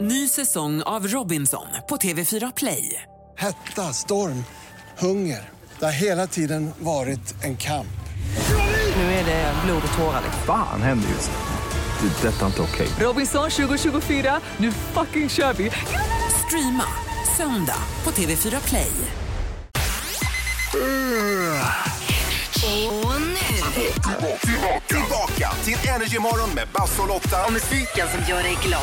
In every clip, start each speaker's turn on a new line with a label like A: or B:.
A: Ny säsong av Robinson på TV4 Play.
B: Hetta, storm, hunger. Det har hela tiden varit en kamp.
A: Nu är det blod och tårar. liksom.
C: Fan händer just nu. Det. är Detta är inte okej.
A: Robinson 2024, nu fucking kör vi! Streama söndag på TV4 Play.
D: Och nu,
E: Tillbaka till Energymorgon med Basse och Lotta.
D: musiken som gör dig glad.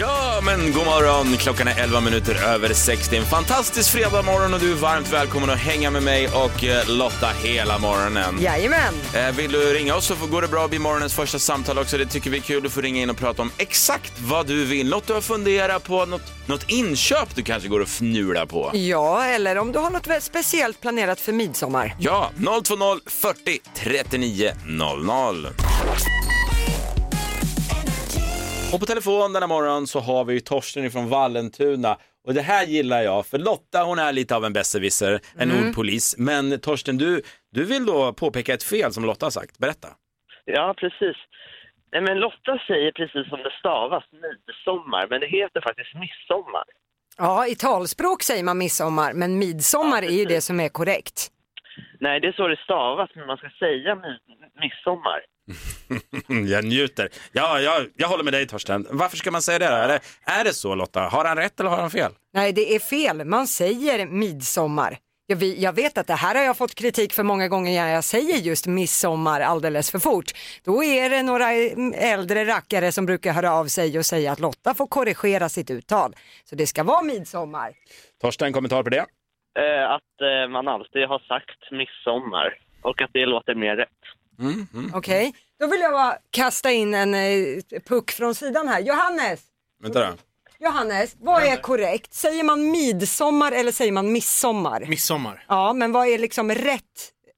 F: Ja, men god morgon. Klockan är 11 minuter över 6. Det är en fantastisk fredagmorgon och du är varmt välkommen att hänga med mig och eh, Lotta hela morgonen.
G: Jajamän!
F: Eh, Vill du ringa oss så får- går det bra att bli morgonens första samtal också. Det tycker vi är kul. Du får ringa in och prata om exakt vad du vill. Något du har funderat på, något, något inköp du kanske går och fnula på.
G: Ja, eller om du har något vä- speciellt planerat för midsommar.
F: Ja, 020 40 39 00. Och på telefon denna morgon så har vi ju Torsten från Vallentuna. Och det här gillar jag, för Lotta hon är lite av en besserwisser, en ordpolis. Men Torsten, du, du vill då påpeka ett fel som Lotta har sagt. Berätta.
H: Ja, precis. Nej, men Lotta säger precis som det stavas, midsommar, men det heter faktiskt midsommar.
G: Ja, i talspråk säger man midsommar, men midsommar
H: Ja,
G: är ju det
H: precis.
G: som är korrekt.
H: Nej, det är så det stavas, men man ska säga mi- midsommar.
F: Mm, Jag njuter. Ja, jag, jag håller med dig Torsten. Varför ska man säga det? då? Är det, är det så Lotta? Har han rätt eller har han fel?
G: Nej, det är fel. Man säger midsommar. Jag, vi- jag vet att det här har jag fått kritik för många gånger när jag säger just midsommar alldeles för fort. Då är det några mm, äldre rackare som brukar höra av sig och säga att Lotta får korrigera sitt uttal. Så det ska vara midsommar.
F: Torsten, kommentar på det?
H: Eh, att eh, man alltid har sagt midsommar och att det låter mer rätt.
G: Okej, då vill jag bara kasta in en eh, puck från sidan här. Johannes!
F: Vänta då.
G: Johannes, vad är korrekt? Säger man midsommar eller säger man midsommar?
I: Midsommar.
G: Ja, men vad är liksom rätt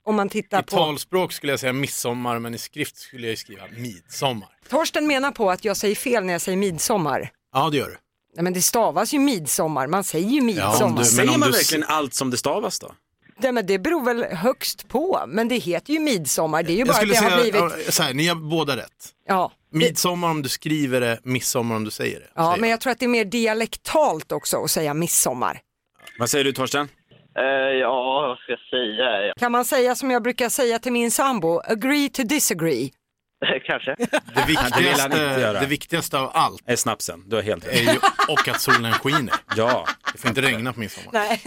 G: om man tittar
I: I
G: på...
I: talspråk skulle jag säga midsommar, men i skrift skulle jag ju skriva midsommar.
G: Torsten menar på att jag säger fel när jag säger midsommar.
I: Ja, det gör du.
G: Nej, men det stavas ju midsommar, man säger ju
I: om
G: midsommar.
I: du-
F: Säger
I: om
F: man
I: du-
F: verkligen allt som det stavas då?
G: Nej, men det beror väl högst på, men det heter ju midsommar. Det är ju bara att det har blivit...
I: ja, så här, ni har båda rätt.
G: Ja, det...
I: Midsommar om du skriver det, midsommar om du säger det.
G: ja
I: säger
G: men jag tror att det är mer dialektalt också att säga midsommar.
F: Vad säger du Torsten?
H: Eh, ja, vad ska jag säga?
G: Kan man säga som jag brukar säga till min sambo, agree to disagree?
H: Ja, Kanske.
I: Det
F: Det vill han inte
I: viktigaste,
F: göra.
I: eh, det viktigaste av allt
F: Är snapsen, du har helt rätt.
I: är ju, och att solen skiner.
F: Ja.
I: Det får inte regna på midsommar.
G: Nej.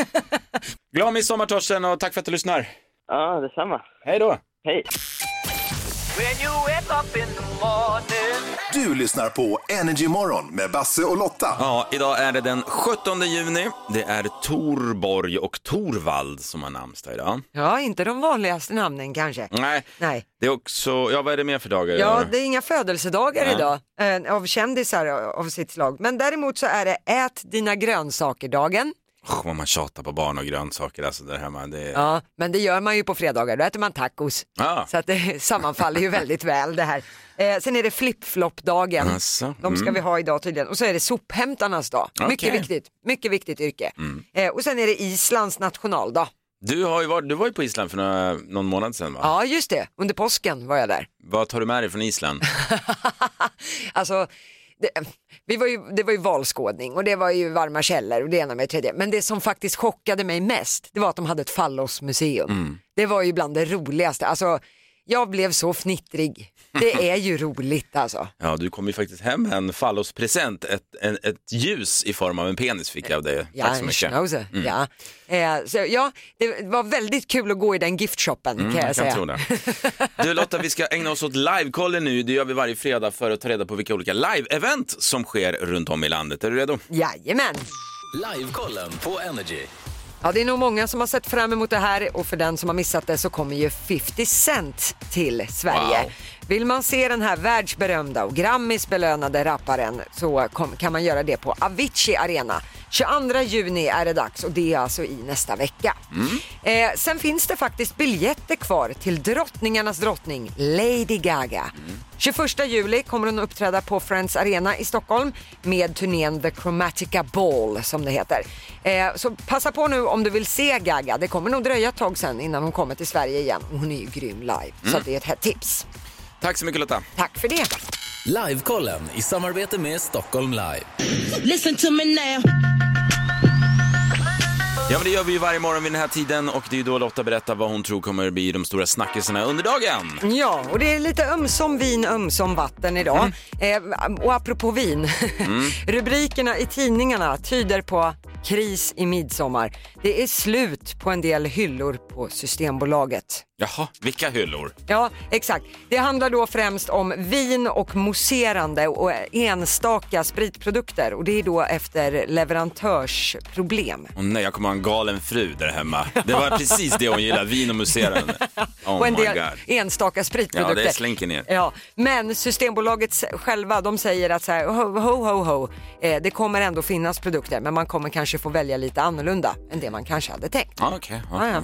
F: Glad midsommar Torsten och tack för att du lyssnar.
H: Ja, detsamma.
F: Hej då.
H: Hej.
E: Du lyssnar på Energymorgon med Basse och Lotta.
F: Ja, idag är det den 17 juni. Det är Torborg och Torvald som har namnsdag idag.
G: Ja, inte de vanligaste namnen kanske.
F: Nej,
G: Nej.
F: det är också, ja vad är det mer för dagar
G: Ja,
F: idag?
G: det är inga födelsedagar
F: Nej.
G: idag eh, av kändisar av sitt slag. Men däremot så är det ät dina grönsaker-dagen.
F: Usch, vad man tjatar på barn och grönsaker alltså där hemma. Det är... ja.
G: Ja, men det gör man ju på fredagar, då äter man tacos. Så att det sammanfaller ju väldigt väl det här. Eh, sen är det flip-flop-dagen.
F: Alltså,
G: De ska
F: mm.
G: vi ha idag tydligen. Och så är det sophämtarnas dag.
F: Okej. Mm.
G: Mycket viktigt, mycket viktigt yrke. Eh, och sen är det Islands nationaldag.
F: Du, har ju varit, du var ju på Island för några, någon månad sedan va?
G: Ja, just det. Under påsken var jag där.
F: Vad tar du med dig från Island?
G: alltså, det, vi var ju, det var ju valskådning och det var ju varma källor och det ena med det tredje. Men det som faktiskt chockade mig mest det var att de hade ett fallosmuseum.
F: Mm.
G: Det var ju bland det roligaste. Alltså, jag blev så fnittrig. Det är ju roligt alltså.
F: Ja, du kom ju faktiskt hem med en fallospresent, ett, en, ett ljus i form av en penis fick jag av dig.
G: Ja,
F: Tack så
G: en
F: mycket. Mm.
G: schnauzer. Ja. Eh, så, ja, det var väldigt kul att gå i den giftshoppen
F: Mm,
G: kan jag,
F: jag
G: säga.
F: Tro det. Du Lotta, vi ska ägna oss åt livekollen nu. Det gör vi varje fredag för att ta reda på vilka olika live-event som sker runt om i landet. Är du redo?
G: Jajamän.
J: Livekollen på Energy.
G: Ja, det är nog många som har sett fram emot det här och för den som har missat det så kommer ju 50 Cent till Sverige.
F: Wow.
G: Vill man se den här världsberömda och Grammisbelönade rapparen så kom, kan man göra det på Avicii Arena. 22 juni är det dags och det är alltså i nästa vecka. Eh, sen finns det faktiskt biljetter kvar till drottningarnas drottning Lady Gaga. 21 juli kommer hon uppträda på Friends Arena i Stockholm med turnén The Chromatica Ball som det heter. Eh, så passa på nu om du vill se Gaga. Det kommer nog dröja ett tag sen innan hon kommer till Sverige igen. Hon är ju grym live så att det är ett hett tips.
F: Tack så mycket Lotta.
G: Tack för det.
J: Livekollen i samarbete med Stockholm Live.
F: Ja, men det gör vi ju varje morgon vid den här tiden och det är ju då Lotta berättar vad hon tror kommer bli de stora snackisarna under dagen.
G: Ja, och det är lite ömsom vin, ömsom vatten idag. Eh, och apropå vin, rubrikerna i tidningarna tyder på kris i midsommar. Det är slut på en del hyllor på Systembolaget.
F: Jaha, vilka hyllor?
G: Ja, exakt. Det handlar då främst om vin och mousserande och enstaka spritprodukter och det är då efter leverantörsproblem.
F: Åh nej, jag kommer ha en galen fru där hemma. Det var precis det hon gillade, vin och muserande.
G: och
F: Oh
G: en
F: my
G: del
F: god.
G: enstaka spritprodukter.
F: Ja, det slänker ner.
G: Ja, men Systembolaget s- själva de säger att så här, ho, ho, ho, ho. Eh, det kommer ändå finnas produkter men man kommer kanske få välja lite annorlunda än det man kanske hade tänkt.
F: Ja, okej. Ja.
G: Ja,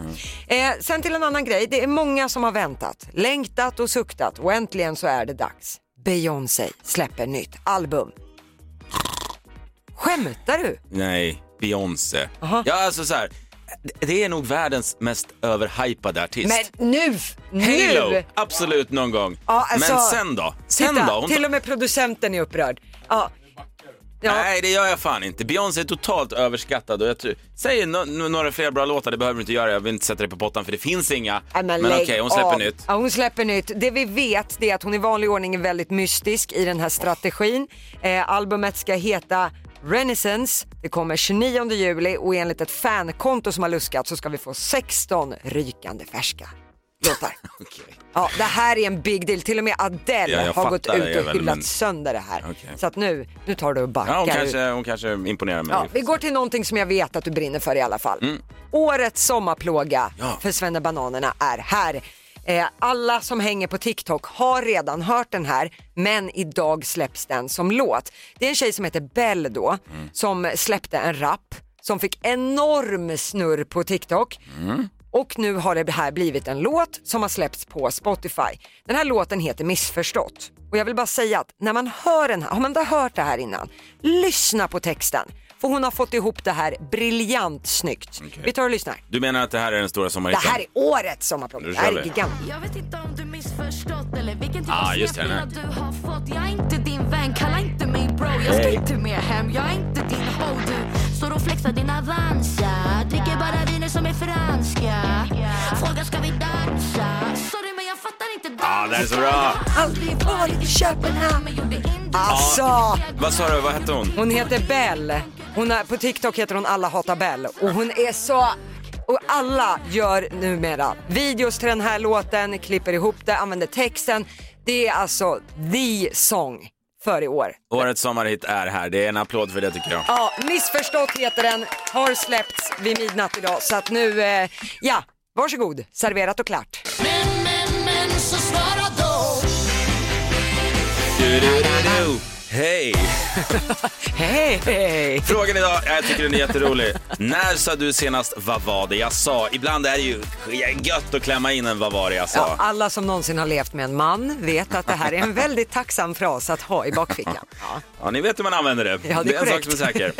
G: ja. Eh, sen till en annan grej. Det är många som har väntat, längtat och suktat och äntligen så är det dags. Beyoncé släpper nytt album. Skämtar du?
F: Nej, Beyoncé. Ja, alltså så här. det- Det är nog världens mest överhypade artist.
G: Men nu! Nu!
F: Halo, absolut någon gång.
G: Ja, alltså-
F: Men sen då? Sen
G: Titta,
F: då? Hon
G: till och med producenten är upprörd. Ja. Ja.
F: Nej, det gör jag fan inte. Beyoncé är totalt överskattad. Och jag tror... Säg no- no- några fler bra låtar, det behöver du inte göra. Jag vill inte sätta dig på pottan för det finns inga.
G: Nej,
F: men
G: lägg
F: okej, hon släpper
G: av.
F: nytt.
G: Ja, hon släpper nytt. Det vi vet det är att hon i vanlig ordning är väldigt mystisk i den här strategin. Eh, albumet ska heta Renaissance. Det kommer 29 juli och enligt ett fankonto som har luskat så ska vi få 16 rykande färska låtar.
F: Okej.
G: Ja, det här är en big deal. Till och med Adele
F: Ja, jag
G: har gått
F: fattar det
G: ut och
F: väl,
G: hyllat
F: men-
G: sönder det här.
F: Okej.
G: Så att nu, nu tar du och backar
F: Ja, hon,
G: ut.
F: kanske, hon kanske imponerar mig.
G: Ja, vi går till någonting som jag vet att du brinner för i alla fall. Årets sommarplåga
F: Mm. Ja.
G: för Svennebananerna är här. Eh, alla som hänger på TikTok har redan hört den här men idag släpps den som låt. Det är en tjej som heter Bell då som släppte en rap som fick enorm snurr på TikTok. Och nu har det här blivit en låt som har släppts på Spotify. Den här låten heter Missförstått. Och jag vill bara säga att när man hör den här, har man inte hört det här innan, lyssna på texten. För hon har fått ihop det här briljant snyggt. Vi tar och lyssnar.
F: Du menar att det här är den stora
G: Det
F: sommarhiten?
G: här är årets sommarplåga.
F: Nu
G: Det
F: kör
G: här
F: vi.
G: är gigantiskt.
K: Jag vet inte om du missförstått eller vilken typ
F: Ah,
K: av
F: just det,
K: snedbrilla du har fått Jag är inte din vän, kalla inte mig bro
F: Eh.
K: Jag ska inte med hem, jag är inte din ho Du står och flexar din Avanza Dricker bara viner som är franska Frågar ska vi dansa? Sorry men jag fattar inte danska
F: Ah, det här är så bra.
K: Aldrig varit i Köpenhamn men gjorde inte
F: Ah.
G: Alltså,
F: Vad sa du, vad hette hon?
G: hon heter Bell. Hon är, på TikTok heter hon Alla hatar Bell. Och hon är så... Och alla gör numera videos till den här låten, klipper ihop det, använder texten. Det är alltså the song för i år.
F: Årets sommarhit är här. Det är en applåd för det tycker jag.
G: Ja, Missförstått heter den, har släppts vid midnatt idag. Så att nu, eh, ja, varsågod, serverat och klart.
K: Men, men, men så svara då
F: Du, du, du, du. Hej!
G: Hej, hej!
F: Frågan idag, jag tycker den är jätterolig. När sa du senast vad var det jag sa? Ibland är det ju gött att klämma in en vad var det jag
G: Ja,
F: sa.
G: alla som någonsin har levt med en man vet att det här är en väldigt tacksam fras att ha i bakfickan. Ja.
F: Ja, ni vet hur man använder det.
G: Ja, det
F: en
G: är
F: sak
G: korrekt.
F: som är säker.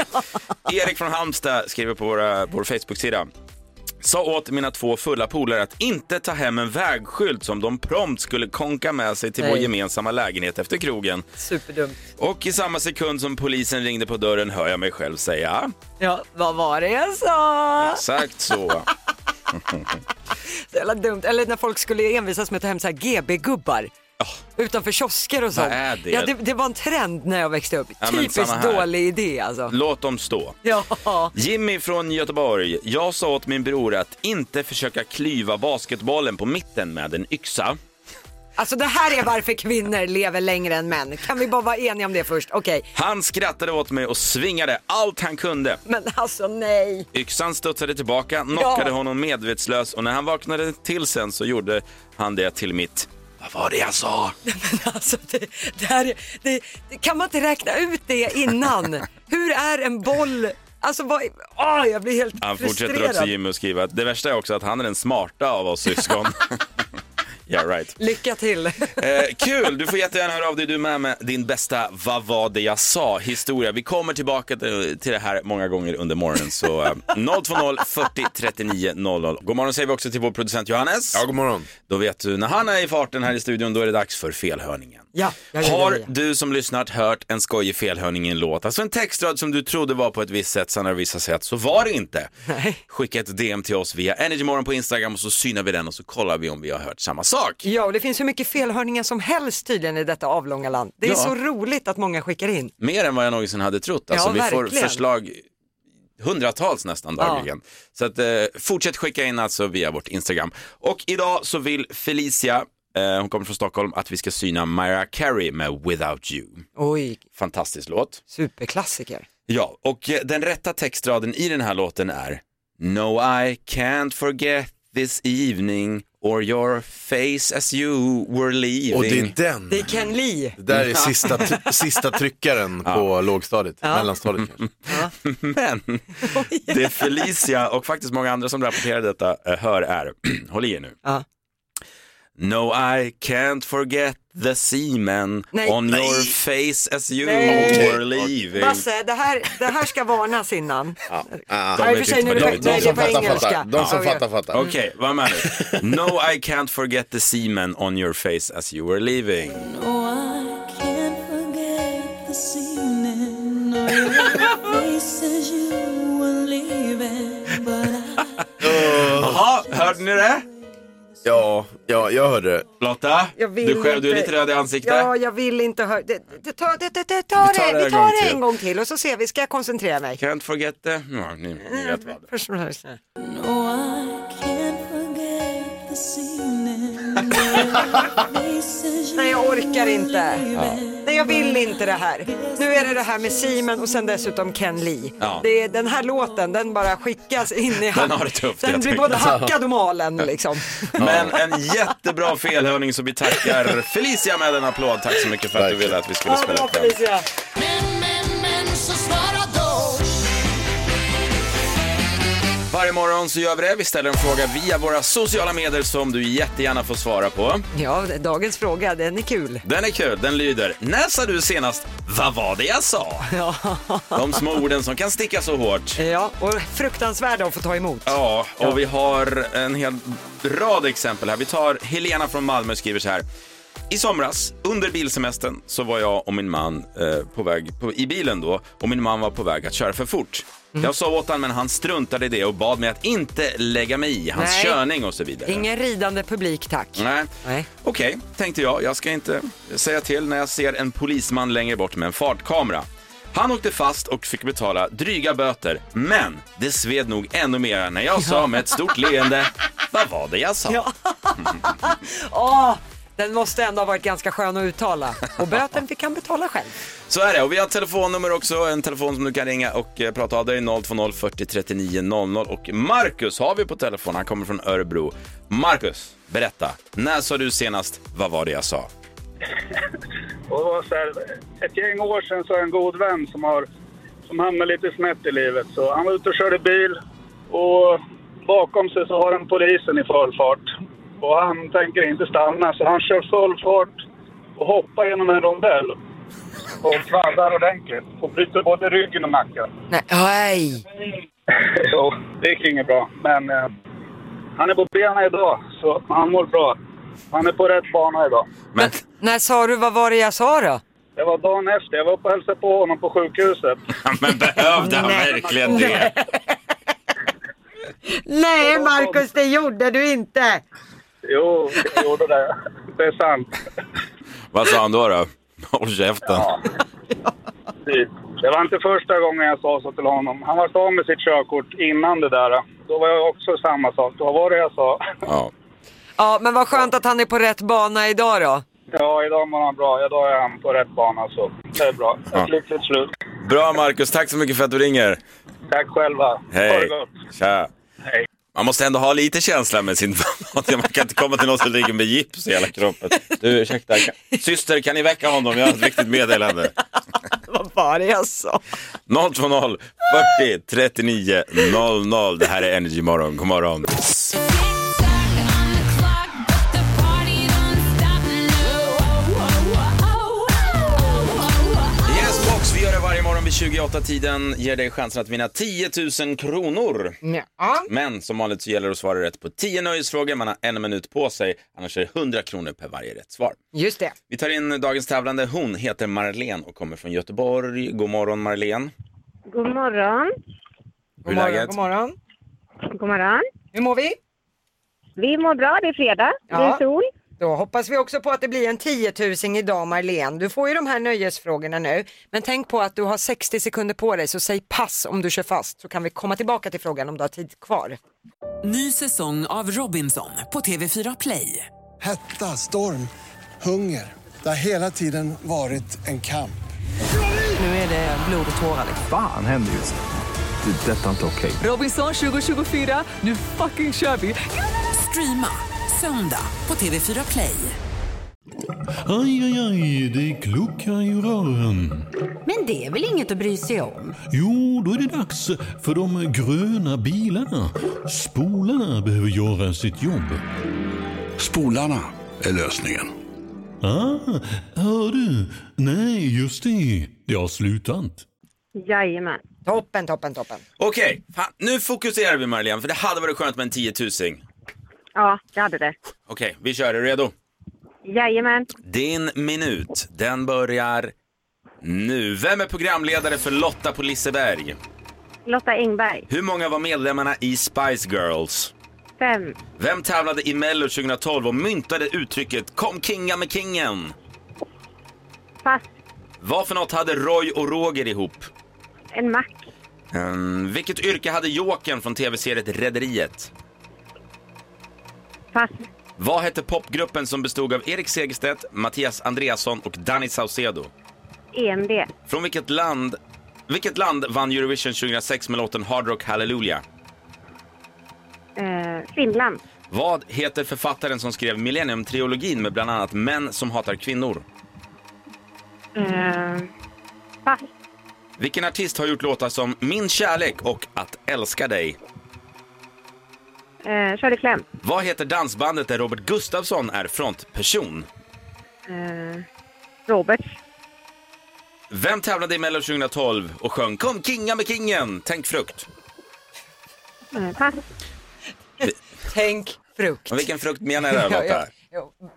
F: Erik från Halmstad skriver på våra, på vår Facebook-sida. Sa åt mina två fulla polare att inte ta hem en vägskylt som de prompt skulle konka med sig till vår
G: Nej.
F: gemensamma lägenhet efter krogen.
G: Superdumt.
F: Och i samma sekund som polisen ringde på dörren hör jag mig själv säga
G: Ja, vad var det jag sa?
F: exakt så.
G: Så jävla dumt. Eller när folk skulle envisas med att ta hem så här GB-gubbar. Utanför kiosker och sånt.
F: är det?
G: Ja, det, det var en trend när jag växte upp.
F: men samma
G: Typiskt
F: här.
G: dålig idé alltså.
F: Låt dem stå.
G: Ja.
F: Jimmy från Göteborg. Jag sa åt min bror att inte försöka klyva basketbollen på mitten med en yxa.
G: Alltså det här är varför kvinnor lever längre än män. Kan vi bara vara eniga om det först? Okej.
F: Han skrattade åt mig och svingade allt han kunde.
G: Men alltså nej.
F: Yxan studsade tillbaka, knockade
G: Ja.
F: honom medvetslös och när han vaknade till sen så gjorde han det till mitt Vad var det jag sa?
G: Men alltså det, det här är- det, det, kan man inte räkna ut det innan? Hur är en boll? Alltså vad, åh, jag blir helt
F: Han fortsätter
G: frustrerad.
F: också Jimmy att skriva att det värsta är också att han är den smarta av oss syskon. Yeah right.
G: Lycka till.
F: Eh, kul, du får jättegärna höra av dig du med med din bästa Vad var det jag sa historia. Vi kommer tillbaka till till det här många gånger under morgonen så eh, 020 40 39 00. God morgon säger vi också till vår producent Johannes.
I: Ja, god morgon.
F: Då vet du när han är i farten här i studion då är det dags för felhörningen.
G: Ja, ja, ja, ja,
F: Har
G: ja.
F: du som lyssnat hört en skojig felhörning i en låt, alltså en textrad som du trodde var på ett visst sätt, sen har det visat sig att så var det inte. Skicka ett DM till oss via Energymorgon på Instagram och så synar vi den och så kollar vi om vi har hört samma sak.
G: Ja, och det finns hur mycket felhörningar som helst tydligen i detta avlånga land. Det är
F: Ja.
G: så roligt att många skickar in.
F: Mer än vad jag någonsin hade trott. Alltså,
G: Ja,
F: vi får
G: verkligen.
F: förslag hundratals nästan
G: Ja.
F: dagligen. Så att, eh, fortsätt skicka in alltså via vårt Instagram. Och idag så vill Felicia, eh, hon kommer från Stockholm, att vi ska syna Mariah Carey med Without You.
G: Oj,
F: Fantastisk låt.
G: superklassiker.
F: Ja, och eh, den rätta textraden i den här låten är No I can't forget this evening or your face as you were leaving.
I: Och det är den.
G: Det är Ken Lee.
I: Det där är sista, try- sista tryckaren på lågstadiet, mellanstadiet kanske.
F: Men det Felicia och faktiskt många andra som rapporterar detta eh, hör är, håll i er nu.
G: Ja.
F: No I can't forget the seamen
G: Nej.
F: on your face as you
G: Nej.
F: were leaving.
G: Basse, det här, det här ska varnas innan.
I: Ah.
F: De
G: Ja, i och
F: vet
G: för sig,
F: inte
G: nu
F: vad
G: är
F: det
G: det,
F: betyder.
G: nej, det är på engelska.
I: fattar. De som
G: Ja.
I: fattar fattar.
F: Okej, vad menar du? No I can't forget the seamen on your face as you were leaving. Jaha, hörde ni det?
I: Ja, ja, jag hörde det.
F: Lotta,
G: Jag vill
F: du själv, du är
G: inte-
F: lite röd i ansiktet.
G: Ja, jag vill inte höra. Det, det, tar- det, det, det tar
F: tar
G: det,
F: det
G: vi
F: en
G: tar
F: gång
G: det
F: till.
G: en gång till och så ser vi, ska jag koncentrera mig?
F: Can't forget the... Ja, ni, ni vet vad.
G: Först och främst. Nej, jag orkar inte. Nej, jag vill inte det här. Nu är det det här med Simon och sen dessutom Ken Lee.
F: Ja.
G: Det är, den här låten, den bara skickas in i hand.
F: har det tufft,
G: Den
F: jag
G: blir
F: tycker.
G: både hackad och malen liksom.
F: Men en jättebra felhörning som vi tackar Felicia med en applåd. Tack så mycket för att du ville att vi skulle
G: Ja,
F: spela
G: bra
F: upp den.
G: Felicia.
K: Men, men, men så svara då
F: Varje morgon så gör vi det. Vi ställer en fråga via våra sociala medier som du jättegärna får svara på.
G: Ja, dagens fråga, den är kul.
F: Den är kul, den lyder. När sa du senast Vad var det jag sa? De små orden som kan sticka så hårt.
G: Ja, och fruktansvärda att få ta emot.
F: Ja, och vi har en hel rad exempel här. Vi tar Helena från Malmö skriver så här. I somras, under bilsemestern, så var jag och min man eh, på väg, på, i bilen då, och min man var på väg att köra för fort.
G: Mm.
F: Jag sa åt honom, men han struntade i det och bad mig att inte lägga mig i hans
G: Nej.
F: körning och så vidare.
G: Ingen ridande publik tack.
F: Nej.
G: Nej.
F: Okej, tänkte jag. Jag ska inte säga till när jag ser en polisman längre bort med en fartkamera. Han åkte fast och fick betala dryga böter, men det sved nog ännu mer när jag sa med ett stort leende, vad var det jag sa?
G: Åh, den måste ändå ha varit ganska skön att uttala. Och böten fick han betala själv.
F: Så är det, och vi har ett telefonnummer också, en telefon som du kan ringa och eh, prata av dig, 020 40 39 00. Och Marcus har vi på telefon, han kommer från Örebro. Marcus, berätta, när sa du senast, vad var det jag sa?
L: Och det var så här, ett gäng år sedan så har jag en god vän som, har, som hamnade lite snett i livet. Så han var ute och körde bil och bakom sig så har han polisen i full fart. Och han tänker inte stanna så han kör full fart och hoppar genom en rondell. Och kvaddar ordentligt och bryter både ryggen och nacken.
G: Nej, nej.
L: Jo, det gick inget bra. Men eh, han är på benen idag så han mår bra. Han är på rätt bana idag.
F: Men,
G: När sa du, vad var det jag sa då?
L: Det var dagen efter. Jag var uppe och hälsade på honom på sjukhuset.
F: men behövde han
G: Nej.
F: verkligen det?
G: Nej Markus, det gjorde du inte.
L: Jo, jag gjorde det. Det är sant.
F: Vad sa han då? då? Håll käften.
L: Typ. Det var inte första gången jag sa så till honom. Han var så med sitt körkort innan det där. Då var jag också samma sak. Då var det jag sa.
F: Ja.
G: Ja, men vad skönt att han är på rätt bana idag då.
L: Ja, idag mår han bra. Idag är han på rätt bana så det är bra. Ett
F: Ja.
L: lyckligt slut.
F: Bra Marcus, tack så mycket för att du ringer.
L: Tack själva. Ha det
F: Hej.
L: gott.
F: Tja.
L: Hej.
F: Man måste ändå ha lite känsla med sin Man kan inte komma till någon som ligger med gips i hela kroppen. Du, ursäkta. Kan... Syster, kan ni väcka honom? Jag har ett viktigt meddelande.
G: Vad var det jag sa?
F: 020 40 39 00. Det här är Energy Morgon. God morgon.
K: Tick-tack on the clock, but the party
F: 28-tiden ger dig chansen att vinna 10 000 kronor.
G: Ja.
F: Men som vanligt så gäller det att svara rätt på 10 nöjesfrågor. Man har en minut på sig, annars är det 100 kronor per varje rätt svar.
G: Just det.
F: Vi tar in dagens tävlande. Hon heter Marlene och kommer från Göteborg. God morgon Marlene.
M: God morgon.
F: Hur är läget?
G: God morgon.
M: God morgon.
G: Hur mår vi?
M: Vi mår bra, det är fredag. Det är sol.
G: Då hoppas vi också på att det blir en 10 000 idag Marlene. Du får ju de här nöjesfrågorna nu. Men tänk på att du har 60 sekunder på dig så säg pass om du kör fast så kan vi komma tillbaka till frågan om du har tid kvar.
A: Ny säsong av Robinson på TV4 Play.
B: Hetta, storm, hunger. Det har hela tiden varit en kamp.
A: Nu är det blod och tårar.
C: Fan händer just det. Det är detta inte okej.
A: Robinson 2024, nu fucking kör vi! Streama söndag på TV4 Play.
N: Aj, aj, aj, det kluckar i rören.
O: Men det är väl inget att bry sig om?
N: Jo, då är det dags för de gröna bilarna. Spolarna behöver göra sitt jobb. Spolarna är lösningen. Ah, hör du? Nej, just det. Det har slutat.
M: Jajamän.
G: Toppen, toppen, toppen.
F: Okej, fan, nu fokuserar vi Marlene för det hade varit skönt med en 10 000. Okej,
M: Ja, det hade det.
F: vi kör. Är du redo?
M: Jajamän.
F: Din minut, den börjar nu. Vem är programledare för Lotta på Liseberg?
M: Lotta Engberg.
F: Hur många var medlemmarna i Spice Girls?
M: Fem.
F: Vem tävlade i Mello 2012 och myntade uttrycket “Kom kinga med kingen”?
M: Pass.
F: Vad för något hade Roy och Roger ihop?
M: En mack.
F: Ehm, vilket yrke hade Jokern från tv-seriet Rederiet?
M: Pass.
F: Vad hette popgruppen som bestod av Erik Segerstedt, Mattias Andreasson och Danny Saucedo?
M: EMD.
F: Från vilket land, vilket land vann Eurovision 2006 med låten Hard Rock Hallelujah?
M: Eh, Finland.
F: Vad heter författaren som skrev Millennium-trilogin med bland annat män som hatar kvinnor?
M: Eh, pass.
F: Vilken artist har gjort låtar som Min kärlek och Att älska dig?
M: Eh, Shirley Clamp.
F: Vad heter dansbandet där Robert Gustafsson är frontperson?
M: Eh, Roberts.
F: Vem tävlade i Mello 2012 och sjöng Kom kinga med kingen, tänk frukt?
M: Eh, pass.
G: Tänk frukt.
F: Och vilken frukt menar du Lotta?
G: Ja,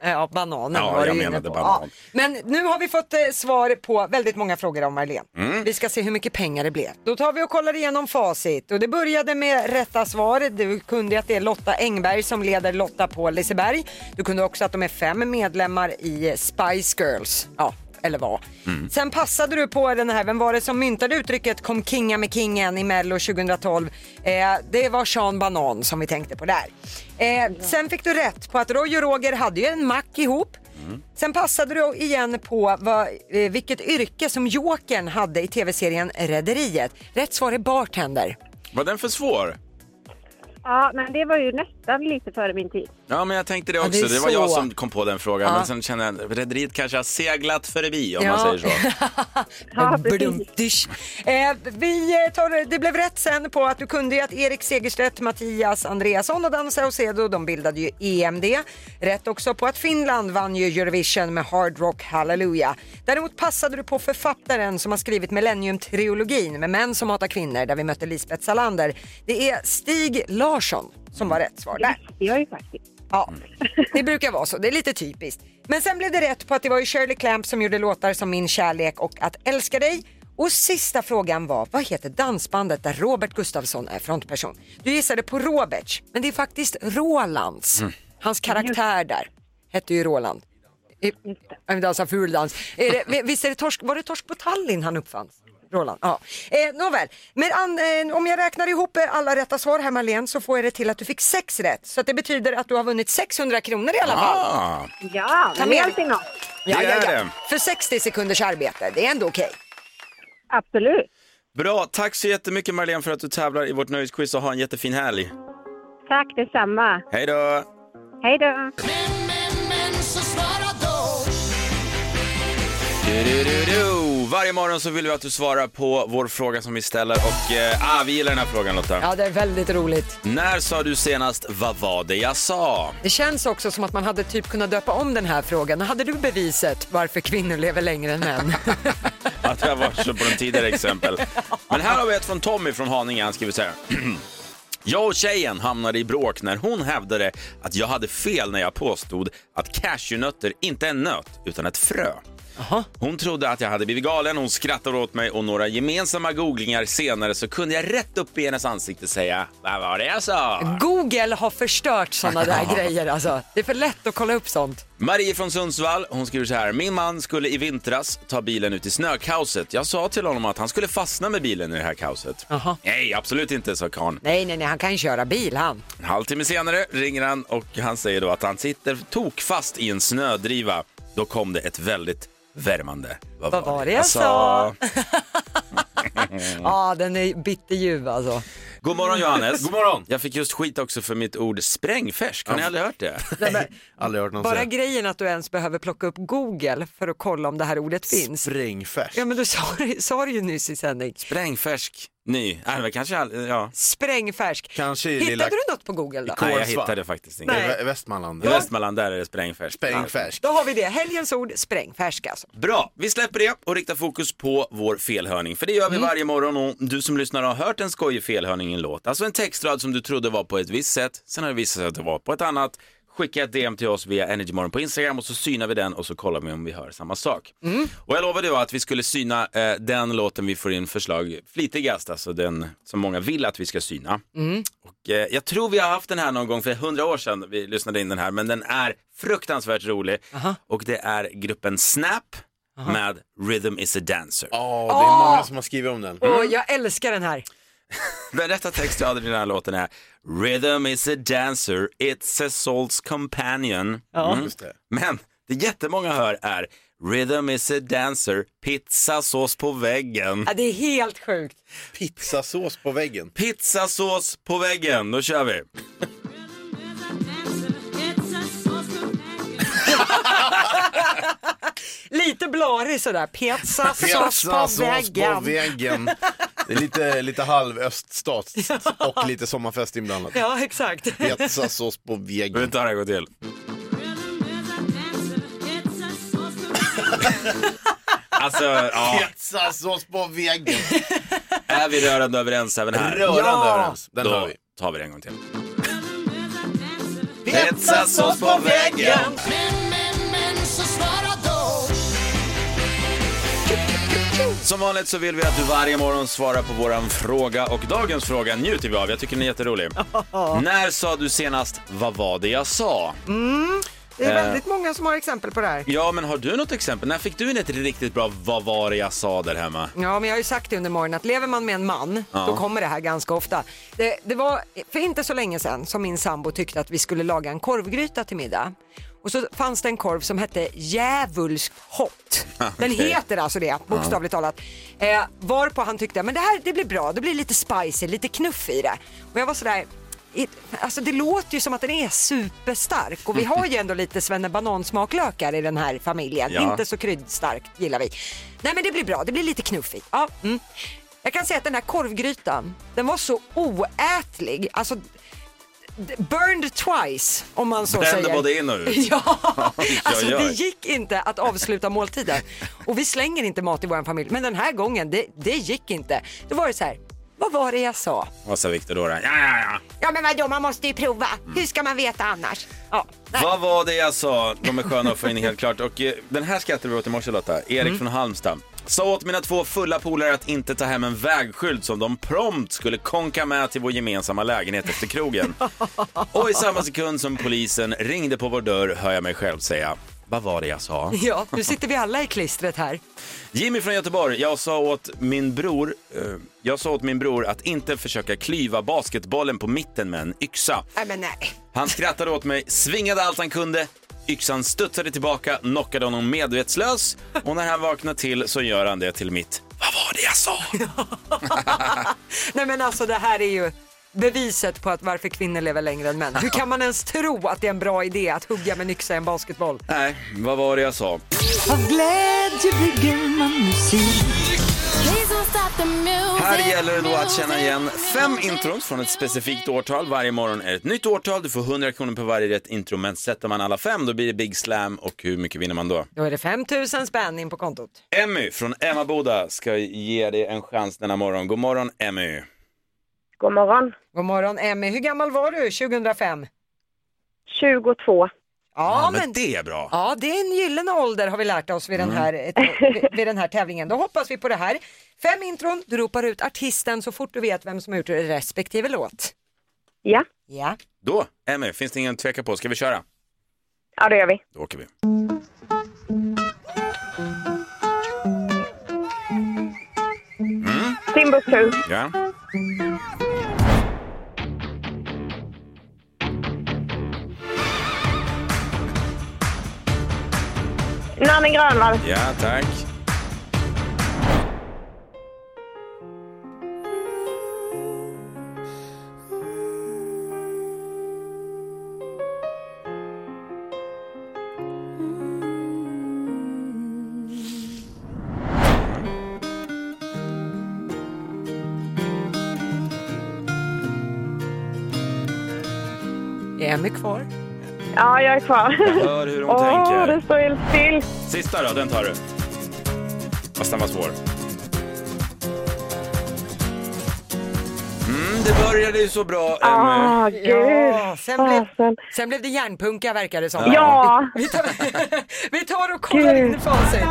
G: ja, ja, bananen
F: Ja,
G: var du
F: jag
G: inne
F: menade
G: på.
F: banan.
G: Men nu har vi fått eh, svar på väldigt många frågor om Marlene.
F: Mm.
G: Vi ska se hur mycket pengar det blev. Då tar vi och kollar igenom facit och det började med rätta svar. Du kunde ju att det är Lotta Engberg som leder Lotta på Liseberg. Du kunde också att de är fem medlemmar i eh, Spice Girls. Ja, eller vad. Mm. Sen passade du på den här, vem var det som myntade uttrycket kom kinga med kingen i Mello 2012? Eh, det var Sean Banan som vi tänkte på där. Eh, sen fick du rätt på att Roy och Roger hade ju en mack ihop. Sen passade du igen på vad, eh, vilket yrke som Jokern hade i tv-serien Rederiet. Rätt svar är bartender.
F: Var den för svår?
M: Ja, men det var ju nästan lite före min tid.
F: Ja, men jag tänkte det
M: Ja,
F: också.
M: det är
F: det, var
M: så.
F: jag som kom på den frågan.
M: Ja.
F: Men sen kände jag att rederiet kanske har seglat förbi om
G: Ja.
F: man säger så.
G: Ja, precis. Eh, vi eh, tar, det blev rätt sen på att du kunde ju att Erik Segerstedt, Mattias Andreasson och Dan Saucedo, de bildade ju EMD. Rätt också på att Finland vann ju Eurovision med Hard Rock Hallelujah. Däremot passade du på författaren som har skrivit Millennium-trilogin med män som hatar kvinnor där vi mötte Lisbeth Salander. Det är Stig Larsson som var rätt svar där.
M: Det är ju faktiskt.
G: Ja, det brukar vara så. Det är lite typiskt. Men sen blev det rätt på att det var ju Shirley Clamp som gjorde låtar som Min kärlek och Att älska dig. Och sista frågan var, vad heter dansbandet där Robert Gustafsson är frontperson? Du gissade på Roberts, men det är faktiskt Rolands. Hans karaktär där hette ju Roland. I- Han dansar fuldans. Är det- Visst är det torsk, var det torsk på Tallinn han uppfanns? Roland, ja. Eh, nåväl, men an, eh, om jag räknar ihop eh, alla rätta svar här Marlene så får jag det till att du fick sex rätt. Så att det betyder att du har vunnit 600 kronor i alla fall.
F: Ah,
M: Ja,
G: Ta
M: men det är
G: med.
M: alltid något.
G: Ja,
F: Det
G: ja,
F: är
G: ja.
F: det.
G: För 60 sekunders arbete, det är ändå okej.
M: Absolut.
F: Bra, tack så jättemycket Marlene för att du tävlar i vårt nöjesquiz och ha en jättefin helg.
M: Tack detsamma.
F: Hej då!
M: Hej då.
F: Du-du-du-du. Varje morgon så vill vi att du svarar på vår fråga som vi ställer och eh, ah, vi gillar den här frågan Lotta.
G: Ja, det är väldigt roligt.
F: När sa du senast vad var det jag sa?
G: Det känns också som att man hade typ kunnat döpa om den här frågan. Hade du beviset varför kvinnor lever längre än män?
F: att jag var så på de tidigare exempel. Men här har vi ett från Tommy från Haninge. Han skriver så här. Jag och tjejen hamnade i bråk när hon hävdade att jag hade fel när jag påstod att cashewnötter inte är en nöt utan ett frö. Hon trodde att jag hade blivit galen, hon skrattade åt mig och några gemensamma googlingar senare så kunde jag rätt upp i hennes ansikte säga Vad var det jag sa?
G: Google har förstört sådana där grejer alltså. Det är för lätt att kolla upp sånt.
F: Marie från Sundsvall, hon skriver så här. Min man skulle i vintras ta bilen ut i snökaoset. Jag sa till honom att han skulle fastna med bilen i det här kaoset. Nej, absolut inte, sa karln.
G: Nej, nej, nej, han kan ju köra bil han.
F: En halvtimme senare ringer han och han säger då att han sitter tokfast i en snödriva. Då kom det ett väldigt värmande. Vad, Alltså,
G: var det jag sa?
I: Mm.
G: Ja, den är bitterljuv alltså.
F: God morgon Johannes.
G: God morgon.
F: Jag fick just skit också för mitt ord sprängfärsk. Har ni aldrig hört det?
G: Nej,
I: aldrig hört någon
G: Bara grejen att du ens behöver plocka upp Google för att kolla om det här ordet finns.
I: Sprängfärsk.
G: Ja, men du sa, det- sa det ju nyss i sändning.
F: Sprängfärsk. Ny. Nej, men kanske aldrig, ja.
G: Sprängfärsk.
I: Kanske
G: Hittade du något på Google då?
F: Nej, jag hittade faktiskt inget.
G: Nej. I Vä-
I: Västmanland.
F: I Västmanland, där är det sprängfärsk. Sprängfärsk.
G: Då har vi det. Helgens ord, sprängfärsk alltså.
F: Bra, vi släpper det och riktar fokus på vår felhörning. För det gör vi varje morgon och du som lyssnar har hört en skojig felhörning i en låt. Alltså en textrad som du trodde var på ett visst sätt, sen har det visat sig att det var på ett annat. Skicka ett DM till oss via Energymorgon på Instagram och så synar vi den och så kollar vi om vi hör samma sak. Och jag lovade ju att vi skulle syna eh, den låten vi får in förslag flitigast, alltså den som många vill att vi ska syna. Och, eh, jag tror vi har haft den här någon gång för hundra år sedan vi lyssnade in den här, men den är fruktansvärt rolig. Och det är gruppen Snap med Rhythm is a dancer.
I: Ja, det är många som har skrivit om den.
G: Och jag älskar den här.
F: Den rätta textraden i den här låten är Rhythm is a dancer, it's a soul's companion. Mm.
G: Ja.
I: Just det.
F: Men det jättemånga hör är Rhythm is a dancer, pizzasås på väggen.
G: Ja, det är helt sjukt.
I: Pizzasås på väggen.
F: Pizzasås på väggen, då kör vi.
G: Lite blarig sådär. Pizza, sås på
I: Pizzasås
G: väggen.
I: på väggen. Det är lite, lite halv öststat och lite sommarfest inblandat.
G: Ja, exakt.
I: Pizzasås på väggen.
F: Vi tar det en gång till. Alltså, ja.
I: Pizzasås på väggen.
F: Är vi rörande överens även här?
I: Rörande Ja. överens. Den
F: Då
I: hör vi.
F: tar vi det en gång till.
I: Pizzasås på väggen.
K: Men, men, men så svara då
F: Som vanligt så vill vi att du varje morgon svarar på våran fråga och dagens fråga njuter vi av. Jag tycker den är jätterolig. När sa du senast vad var det jag sa?
G: Mm. Det är
F: Eh.
G: väldigt många som har exempel på det här.
F: Ja, men har du något exempel? När fick du in ett riktigt bra vad var det jag sa där hemma?
G: Ja, men jag har ju sagt det under morgonen att lever man med en man,
F: Ja.
G: då kommer det här ganska ofta. Det, det var för inte så länge sedan som min sambo tyckte att vi skulle laga en korvgryta till middag. Och så fanns det en korv som hette djävulskt hot. Den
P: Okej.
G: heter alltså det, bokstavligt talat. Eh, varpå han tyckte, men det här det blir bra, det blir lite spicy, lite knuff i det. Och jag var sådär, i- Alltså det låter ju som att den är superstark och vi har ju ändå lite svennebanan-smaklökar i den här familjen.
P: Ja.
G: Inte så kryddstarkt gillar vi. Nej men det blir bra, det blir lite knuffigt. Ja, mm. Jag kan säga att den här korvgrytan, den var så oätlig. Alltså, d- burned twice om man så
F: Brände
G: säger.
F: både in och ut.
G: Ja,
F: Oj,
G: alltså
F: oj, oj.
G: det gick inte att avsluta måltiden. Och vi slänger inte mat i vår familj, men den här gången, det, det gick inte. Då var det så här, vad var det jag sa?
F: Vad sa Viktor då? då? Ja, ja, ja.
G: Ja men vadå, man måste ju prova.
F: Mm.
G: Hur ska man veta annars? Ja.
F: Vad var det jag sa? De är sköna att få in helt klart. Och eh, den här skrattade vi åt i morse Lotta. Erik
G: Mm.
F: från Halmstad. Sa åt mina två fulla polare att inte ta hem en vägskylt som de prompt skulle konka med till vår gemensamma lägenhet efter krogen. Och i samma sekund som polisen ringde på vår dörr hör jag mig själv säga Vad var det jag sa?
G: ja, nu sitter vi alla i klistret här.
F: Jimmy från Göteborg, jag sa åt min bror, eh, jag sa åt min bror att inte försöka klyva basketbollen på mitten med en yxa.
G: Nej men nej.
F: Han skrattade åt mig, svingade allt han kunde. Yxan studsade tillbaka, knockade honom medvetslös och när han vaknar till så gör han det till mitt. Vad var det jag sa?
G: Nej men alltså det här är ju beviset på att varför kvinnor lever längre än män. Hur kan man ens tro att det är en bra idé att hugga med en yxa i en basketboll?
F: Nej, vad var det jag sa?
P: Av glädje bygger man musik.
K: Hej som
F: Här gäller det då att känna igen fem intron från ett specifikt årtal. Varje morgon är det ett nytt årtal. Du får 100 kronor på varje rätt intro. Men sätter man alla fem då blir det Big Slam. Och hur mycket vinner man då?
G: Då är det 5000 spänn in på kontot.
F: Emmy från Emmaboda ska ge dig en chans denna morgon. God morgon Emmy.
G: God morgon. God morgon Emmy. Hur gammal var du 2005? 22. Ja,
F: Ja,
G: men,
F: men det Mm. är bra.
G: Ja, det är en gyllene ålder har vi lärt oss vid den, här, eh, vid, vid den här tävlingen. Då hoppas vi på det här. Fem intron, du ropar ut artisten så fort du vet vem som har gjort respektive låt. Ja. Ja,
F: Då, Emmy, finns det ingen tvekan på. Ska vi köra?
M: Ja, det gör vi.
F: Då åker vi. Mm.
M: Timbuktu.
F: Ja.
M: Nanne Grönvall.
F: ja, tack.
G: är Emmy kvar?
M: Ja, jag är kvar.
F: Jag hör hur hon
M: Åh,
F: tänker.
M: det står helt still.
F: Sista då, den tar du. Fast den var svår. Mm, det började ju så bra,
M: Ah.
F: Emmy.
G: Ja, sen, blev, sen blev det järnpunka verkar det som.
M: Ja.
G: Vi tar, vi tar och kollar
M: Gud.
G: in facit.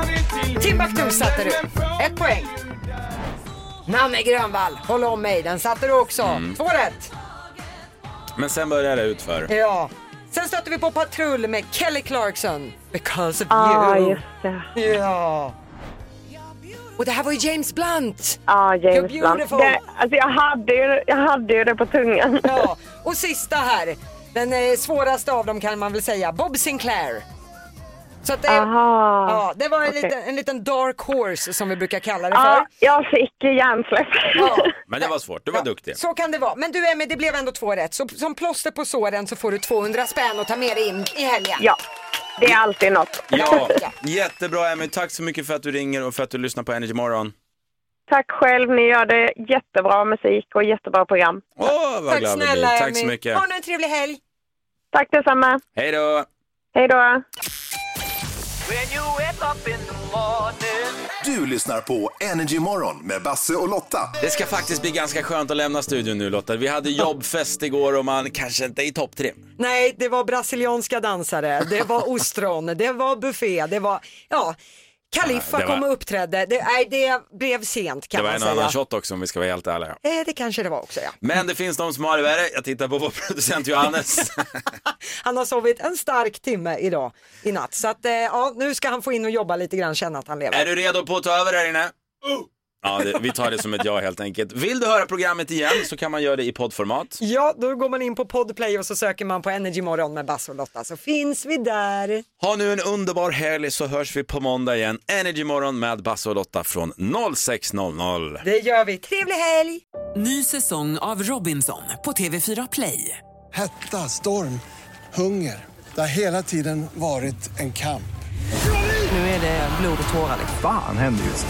G: Timbuktu satte du. Ett poäng. Nanne Grönvall, håll om mig, den satte du också. Två rätt.
F: Men sen började det utför.
G: Ja. Sen stötte vi på patrull med Kelly Clarkson. Because of
M: Ah,
G: you.
M: just det.
G: Ja. Och det här var ju James Blunt.
M: Ja, James
G: You're
M: Blunt.
G: beautiful.
M: Det, alltså jag, hade ju, jag hade ju det på tungan.
G: Ja. Och sista här, den eh, svåraste av dem kan man väl säga, Bob Sinclair. Så att det,
M: Aha.
G: ja, det var en,
M: Okej.
G: liten, en liten dark horse som vi brukar kalla det för.
M: Ja, jag fick hjärnsläpp.
F: Men det var svårt, du var duktig.
G: Så kan det vara. Men du Emmy, det blev ändå två rätt. Så som plåster på såren så får du 200 spänn och ta med dig in i helgen.
M: Ja, det är alltid något.
F: Ja, jättebra Emmy. Tack så mycket för att du ringer och för att du lyssnar på Energy Morgon.
M: Tack själv, ni gör det jättebra musik och jättebra program.
F: Åh, vad
M: Tack
F: glad vi
M: snälla,
F: blir. Tack så
M: Emmy.
F: mycket.
G: Ha nu en trevlig helg.
M: Tack detsamma.
F: Hej då!
M: Hej då.
E: Du lyssnar på Energy Morgon med Basse och Lotta.
F: Det ska faktiskt bli ganska skönt att lämna studion nu Lotta. Vi hade jobbfest igår och man kanske inte är i topptrim.
G: Nej, det var brasilianska dansare, det var ostron, det var buffé, det var, ja, Kaliffa
F: Ja, det var-
G: kom och uppträdde. Det, nej, det blev sent
F: Det
G: kan
F: var
G: man
F: en
G: säga.
F: annan shot också om vi ska vara helt ärliga.
G: Eh, det kanske det var också ja.
F: Men det finns de som har det värre. Jag tittar på vår producent Johannes.
G: Han har sovit en stark timme idag i natt. Så att, eh, ja, nu ska han få in och jobba lite grann, känna att han lever.
F: Är du redo på att ta över här inne? Ja, det, vi tar det som ett ja helt enkelt. Vill du höra programmet igen så kan man göra det i poddformat.
G: Ja, då går man in på Podplay och så söker man på Energy Morgon med Bass och Lotta så finns vi där.
F: Ha nu en underbar helg så hörs vi på måndag igen. Energy morgon med Basse och Lotta från 06.00.
G: Det gör vi. Trevlig helg!
A: Ny säsong av Robinson på TV4 Play.
B: Hetta, storm, hunger. Det har hela tiden varit en kamp.
A: Nu är det blod och tårar. liksom.
C: Fan händer just det.